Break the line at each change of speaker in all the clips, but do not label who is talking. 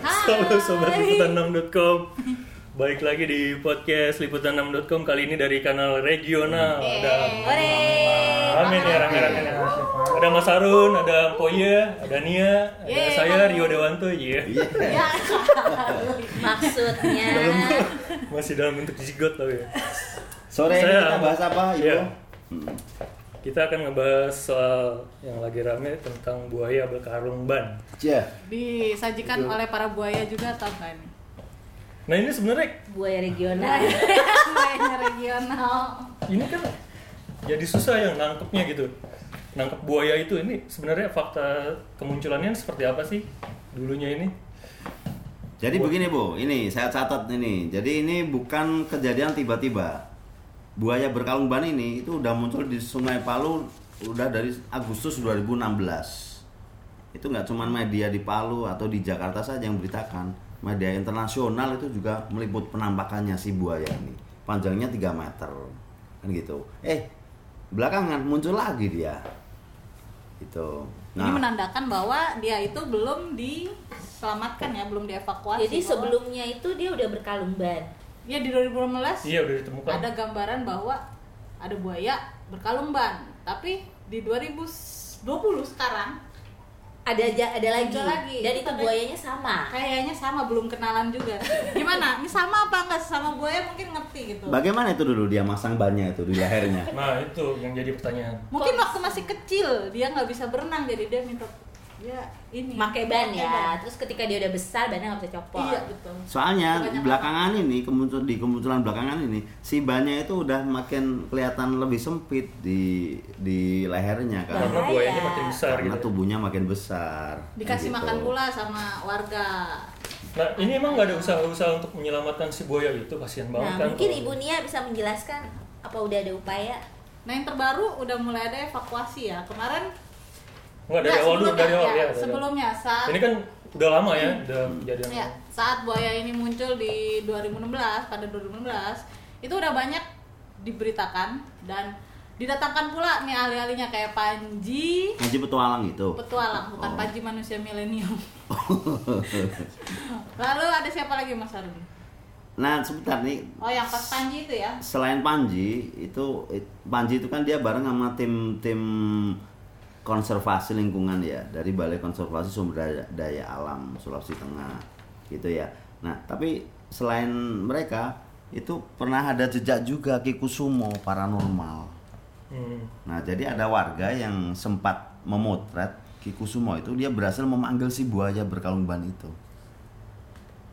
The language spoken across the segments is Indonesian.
Halo sobat liputan6.com. Baik lagi di podcast liputan6.com kali ini dari kanal regional. Ada Amin ya, amin, amin. Ada Mas Harun, ada Poya, ada Nia, ada
Yeay.
saya Rio Dewanto ya.
Ya.
Maksudnya
Dalam masih dalam bentuk zigot tapi ya.
Sore ini
Saya-
kita bahas apa, Ibu?
Iya. Kita akan ngebahas soal yang lagi rame tentang buaya berkarung ban.
Cia.
Disajikan
Betul.
oleh para buaya juga atau enggak nih?
Nah ini sebenarnya
buaya regional.
Buaya regional.
ini kan jadi susah yang nangkepnya gitu nangkep buaya itu ini sebenarnya fakta kemunculannya seperti apa sih dulunya ini
Jadi begini, Bu. Ini saya catat ini. Jadi ini bukan kejadian tiba-tiba. Buaya berkalung ban ini itu udah muncul di Sungai Palu udah dari Agustus 2016. Itu nggak cuma media di Palu atau di Jakarta saja yang beritakan. Media internasional itu juga meliput penampakannya si buaya ini. Panjangnya 3 meter. Kan gitu. Eh, belakangan muncul lagi dia. Gitu. Nah. Itu.
Nah.
Ini menandakan bahwa dia itu belum diselamatkan ya, belum dievakuasi.
Jadi sebelumnya itu dia udah berkalung ban.
ya di 2015
iya udah ditemukan
ada gambaran bahwa ada buaya berkalung ban, tapi di 2020 sekarang
Ada aja ada lagi.
Ada lagi.
Dan itu
Tapi-
buayanya sama.
kayaknya sama belum kenalan juga. Gimana? Ini sama apa enggak sama buaya mungkin ngerti gitu.
Bagaimana itu dulu dia masang bannya itu di lehernya?
nah itu yang jadi pertanyaan
Mungkin waktu masih kecil dia nggak bisa berenang jadi dia minta dia ini
Pakai ban ya. Gitu.
Pakai
Terus ketika dia udah besar bannya nggak bisa copot.
ban. Iya betul.
Soalnya
Kebanyakan.
belakangan ini kemuncul di kemunculan belakangan ini si bannya itu udah makin kelihatan lebih sempit di di lehernya
karena
kan.
Bahaya.
buayanya makin besar
Karena
gitu
tubuhnya makin besar.
Dikasih
Gitu.
makan pula sama warga.
nah ini emang nggak ada usaha-usaha untuk menyelamatkan si buaya itu kasihan banget
Nah
kan
mungkin
kalau-
Ibu Nia bisa menjelaskan apa udah ada upaya?
Nah yang terbaru udah mulai ada evakuasi ya. Kemarin
nggak dari
Nggak,
awal dulu
sebelumnya,
dari awal
ya,
ya dari awal.
sebelumnya saat
ini kan udah lama ya udah kejadian
ya, saat buaya ini muncul di 2016 pada 2016 itu udah banyak diberitakan dan didatangkan pula nih ahli-ahlinya kayak Panji
Ngaji petualang itu.
petualang bukan
Oh.
Panji manusia milenium. Lalu ada siapa lagi Mas Harun?
Nah, sebentar nih
Oh yang pas Panji itu ya?
selain Panji itu it- Panji itu kan dia bareng sama tim tim konservasi lingkungan ya dari Balai Konservasi Sumber Daya, Daya Alam Sulawesi Tengah gitu ya. Nah tapi selain mereka itu pernah ada jejak juga Kikusumo paranormal.
hmm.
Nah jadi ada warga yang sempat memotret Kikusumo itu dia berhasil memanggil si buaya berkalung ban itu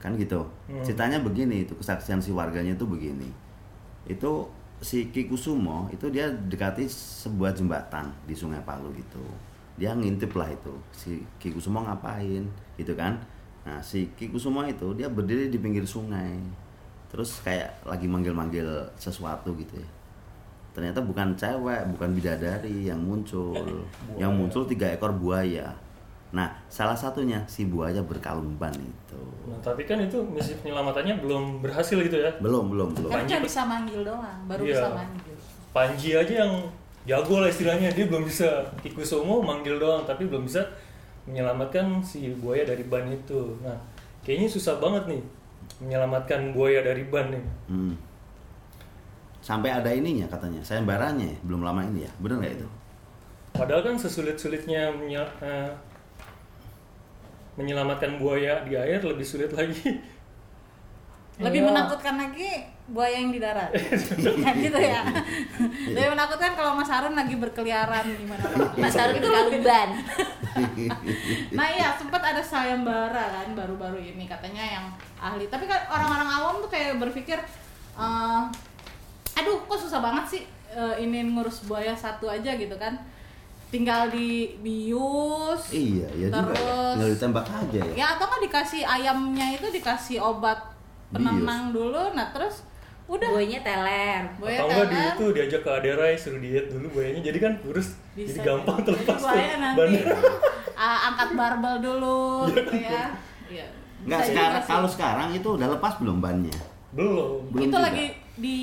kan gitu
Hmm.
ceritanya begini itu kesaksian si warganya itu begini itu si Kikusumo itu dia dekati sebuah jembatan di Sungai Palu gitu dia ngintip lah itu si Kikusumo ngapain gitu kan nah si Kikusumo itu dia berdiri di pinggir sungai terus kayak lagi manggil-manggil sesuatu gitu ya ternyata bukan cewek bukan bidadari yang muncul yang muncul tiga ekor buaya nah salah satunya si buaya berkalung ban itu
nah tapi kan itu misi penyelamatannya belum berhasil gitu ya
belum belum belum
Kan
Panji
cuma
pe-
bisa manggil doang, baru
Iya.
bisa manggil.
Panji aja yang jago lah istilahnya dia belum bisa Kikusumo manggil doang tapi belum bisa menyelamatkan si buaya dari ban itu nah kayaknya susah banget nih menyelamatkan buaya dari ban nih
Hmm. sampai ada ininya katanya sayembaranya ya, belum lama ini ya bener nggak itu
padahal kan sesulit-sulitnya menye- eh, menyelamatkan buaya di air lebih sulit lagi
Lebih
Iya.
menakutkan lagi buaya yang di darat. Kan gitu
Iya.
ya. Lebih menakutkan kalau Mas Harun lagi berkeliaran di mana-mana.
Mas Harun berkalung ban.
Nah iya sempat ada sayembara kan baru-baru ini katanya yang ahli. Tapi kan orang-orang awam tuh kayak berpikir, eh, aduh kok susah banget sih eh, ini ngurus buaya satu aja gitu kan. Tinggal di bius.
iya iya juga ya
Terus-
tinggal ditembak aja ya
Ya atau nggak dikasih ayamnya itu dikasih obat penenang dulu. Nah terus udah ya kan?
Buayanya teler.
buaya
atau enggak di
teler.
itu diajak ke Aderai suruh diet dulu buayanya jadi kan kurus
Bisa
jadi gampang
jadi.
terlepas tuh
Buaya nanti
bannya.
ah, angkat barbel dulu gitu ya. Iya.
nggak
Bisa
sekarang
juga sih.
kalau sekarang itu udah lepas belum bannya
belum
belum
itu
juga.
lagi di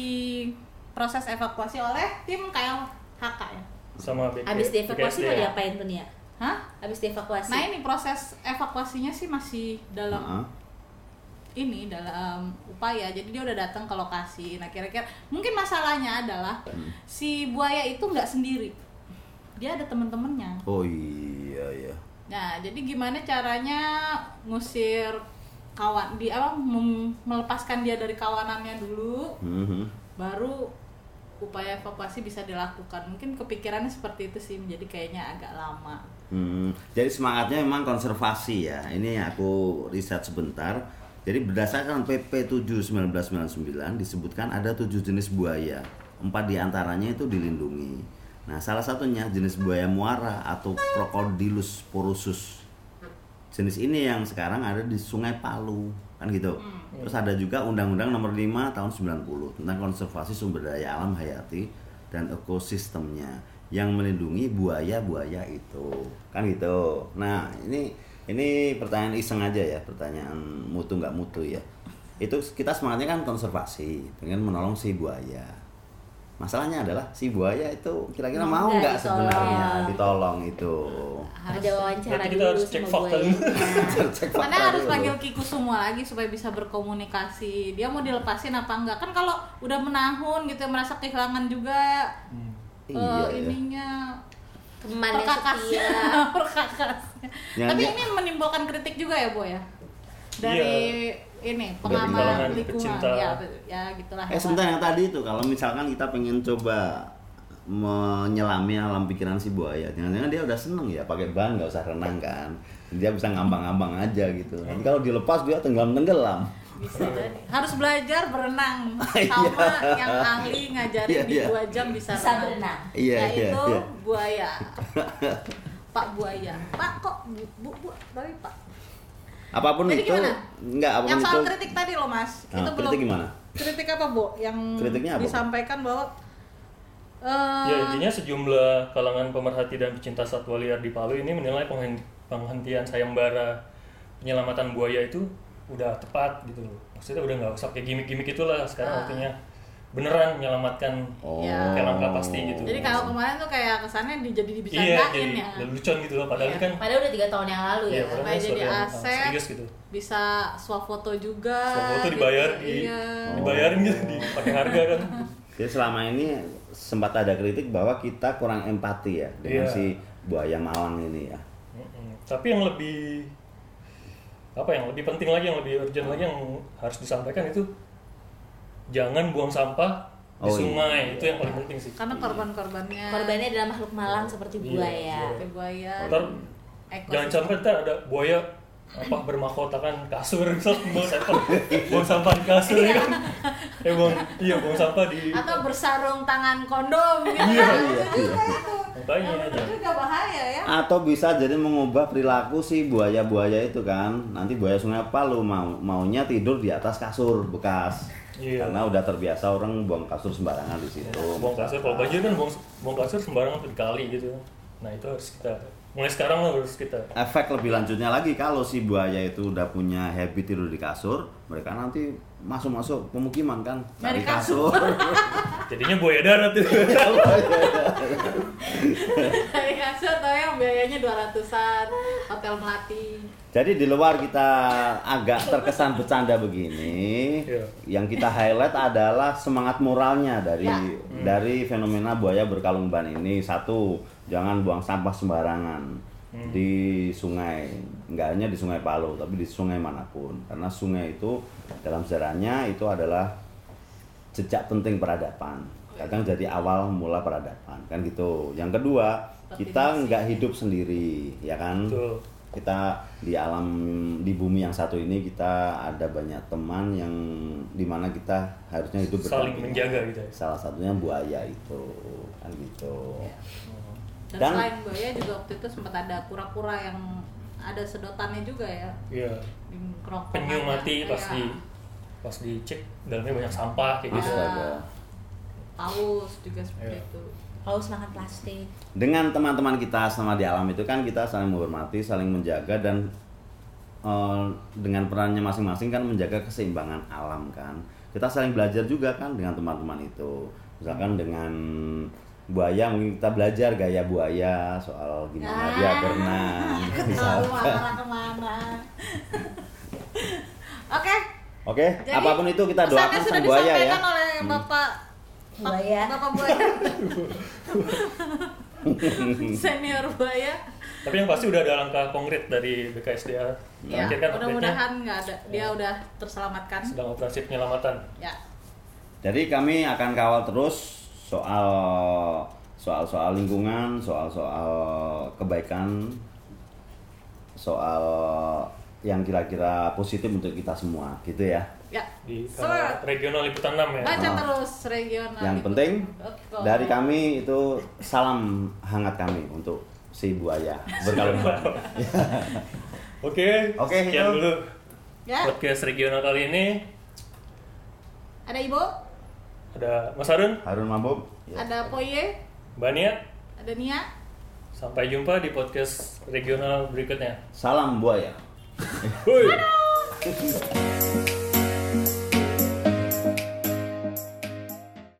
proses evakuasi oleh tim KLHK ya.
sama BK,
Abis dievakuasi mau
BKSDA.
diapain tuh Nia?
Hah?
Abis dievakuasi.
Ah,
Nah ini proses evakuasinya sih masih dalam
Heeh.
ini dalam upaya jadi dia udah datang ke lokasi nah kira-kira mungkin masalahnya adalah si buaya itu nggak sendiri dia ada temen-temennya
Oh iya iya.
Nah, jadi gimana caranya ngusir kawan di apa mem- melepaskan dia dari kawanannya dulu
Mhm.
baru upaya evakuasi bisa dilakukan. Mungkin kepikirannya seperti itu sih menjadi kayaknya agak lama.
Hmm, jadi semangatnya memang konservasi ya. Ini aku riset sebentar. Jadi berdasarkan PP 7 1999 disebutkan ada tujuh jenis buaya. Empat diantaranya itu dilindungi. Nah, salah satunya jenis buaya muara atau Crocodylus porosus. Jenis ini yang sekarang ada di Sungai Palu, kan gitu. Terus ada juga Undang-Undang Nomor 5 Tahun 90 tentang konservasi sumber daya alam hayati dan ekosistemnya yang melindungi buaya-buaya itu, kan gitu. Nah ini ini pertanyaan iseng aja ya, pertanyaan mutu nggak mutu ya. Itu kita semangatnya kan konservasi, pengen menolong si buaya. Masalahnya adalah si buaya itu kira-kira mau
Nggak
nggak sebenarnya ditolong
ditolong.
itu.
Ada wawancara
Berarti kita
dulu
harus cek
sama
fakta
buaya.
dulu.
Cek fakta
Karena harus
dulu.
panggil Kiku semua lagi supaya bisa berkomunikasi. Dia mau dilepasin apa enggak? Kan kalau udah menahun gitu merasa kehilangan juga
Hmm.
eh,
Iya, iya.
ininya
Teman yang
perkakasnya
setia.
perkakasnya
Yang
tapi
dia-
ini menimbulkan kritik juga ya bu ya dari ini pengamat
Iya. kalangan
lingkungan
pecinta.
ya be- ya gitulah
Eh sebentar yang tadi itu kalau misalkan kita pengen coba menyelami alam pikiran si buaya, jangan-jangan dia udah seneng ya pakai ban nggak usah renang kan, dia bisa ngambang-ngambang aja gitu. Nanti kalau dilepas dia tenggelam-tenggelam.
Bisa jadi. harus belajar berenang
Iya.
sama yang ahli ngajarin
Iya,
di
iya.
dua jam bisa,
Bisa berenang.
Iya, iya,
yaitu
iya.
buaya pak buaya pak kok bu bu, bu tapi pak
Apapun
Jadi
itu,
gimana?
nggak apapun
yang soal
itu.
kritik tadi loh mas
Ah,
itu
kritik
belum
gimana?
kritik apa bu yang
Kritiknya apa, Bu?
disampaikan bahwa eh,
Ya intinya sejumlah kalangan pemerhati dan pecinta satwa liar di Palu ini menilai penghen- penghentian sayembara penyelamatan buaya itu udah tepat gitu loh. Maksudnya udah nggak usah kayak gimmick-gimmick itulah
Ah.
sekarang waktunya beneran menyelamatkan
Oh.
Ya.
kayak langkah pasti gitu.
Jadi kalau kemarin tuh kayak kesannya di, jadi dibicarain
iya jadi
ya.
lelucon gitu loh padahal
Iya.
kan
Padahal udah tiga tahun yang lalu ya.
Iya, padahal-
Kayak jadi
Sesuatu yang, ah,
aset.
serius gitu.
Bisa swafoto juga.
Soal tuh
gitu.
dibayar di
Iya.
dibayarin gitu di pakai harga kan.
Jadi selama ini sempat ada kritik bahwa kita kurang empati ya dengan
Iya.
si buaya malang ini ya.
Mm-mm. Tapi yang lebih apa yang lebih penting lagi yang lebih
Hmm.
urgent lagi yang harus disampaikan itu jangan buang sampah di
Oh, iya.
sungai itu yang paling penting sih.
Karena korban-korbannya.
Korbannya adalah makhluk malang seperti
Iya,
buaya.
Kayak buaya.
Ntar
ekosistem.
jangan sampai ntar ada buaya apa bermahkota kan kasur misal buang sampah buang sampah di kasur ya kan eh buang iya buang sampah di
Atau bersarung tangan kondom gitu.
Iya,
kan.
iya,
Itu juga itu.
makanya
Yang bener
jangan
juga bahaya ya.
atau bisa jadi mengubah perilaku si buaya-buaya itu kan nanti buaya sungai Palu mau maunya tidur di atas kasur bekas
Iya.
karena udah terbiasa orang buang kasur sembarangan di situ
Nah, buang kasur kalau banjir kan buang, buang kasur sembarangan tuh di kali gitu nah itu harus kita mulai sekarang lah harus kita
efek lebih lanjutnya lagi kalau si buaya itu udah punya habit tidur di kasur mereka nanti masuk-masuk pemukiman kan
Nyari
cari kasur
jadinya buaya darat itu
Dari kasur tau yang ya, biayanya 200-an. Hotel Melati.
Jadi di luar kita agak terkesan bercanda begini,
Iya.
yang kita highlight adalah semangat moralnya dari
Ya.
Hmm.
dari fenomena buaya berkalung ban ini. Satu, jangan buang sampah sembarangan
Hmm.
di sungai, nggak hanya di Sungai Palu, tapi di sungai manapun. Karena sungai itu dalam sejarahnya itu adalah jejak penting peradaban. Kadang jadi awal mula peradaban, kan gitu. Yang kedua, kita nggak hidup sendiri, ya kan?
Betul.
kita di alam di bumi yang satu ini kita ada banyak teman yang dimana kita harusnya hidup
Saling
berdampingan.
menjaga Iya. gitu ya.
salah satunya buaya itu kan gitu
Dan,
Dan-
selain buaya juga waktu itu sempat ada kura-kura yang ada sedotannya juga ya.
iya
Di kerongkongan.
penyu mati
Iya.
pas di pas dicek dalamnya banyak sampah kayak gitu
Astaga.
paus juga seperti
Iya.
itu
Haus makan plastik.
dengan teman-teman kita selama di alam itu kan kita saling menghormati saling menjaga dan eh, dengan perannya masing-masing kan menjaga keseimbangan alam kan kita saling belajar juga kan dengan teman-teman itu misalkan dengan buaya mungkin kita belajar gaya buaya soal gimana dia
Ah,
berenang
aku tahu arah kemana oke
Oke, apapun itu kita doakan sang
sudah
buaya ya.
disampaikan oleh Bapak
Buaya.
Bapak buaya. Senior buaya.
Tapi yang pasti udah ada langkah konkret dari BKSDA.
Ya,
Iya.
Terakhir kan update-nya Ya.
mudah-mudahan nggak ada. Dia udah terselamatkan.
sedang operasi penyelamatan.
Ya.
Jadi kami akan kawal terus soal soal-soal lingkungan, soal-soal kebaikan, soal yang kira-kira positif untuk kita semua, gitu ya.
Ya.
di uh,
Semangat.
regional liputan 6 ya.
Baca terus regional.
Yang
itu.
penting
Betul.
dari kami itu salam hangat kami untuk si buaya berkalung.
Oke,
Oke,
sekian
Hito.
dulu
Ya.
podcast regional kali ini.
Ada Ibo,
Ada Mas Harun,
Harun mabuk. Ya.
ada Poye,
Mbak Nia.
ada Nia.
Sampai jumpa di podcast regional berikutnya.
Salam buaya.
Hui.
Oke.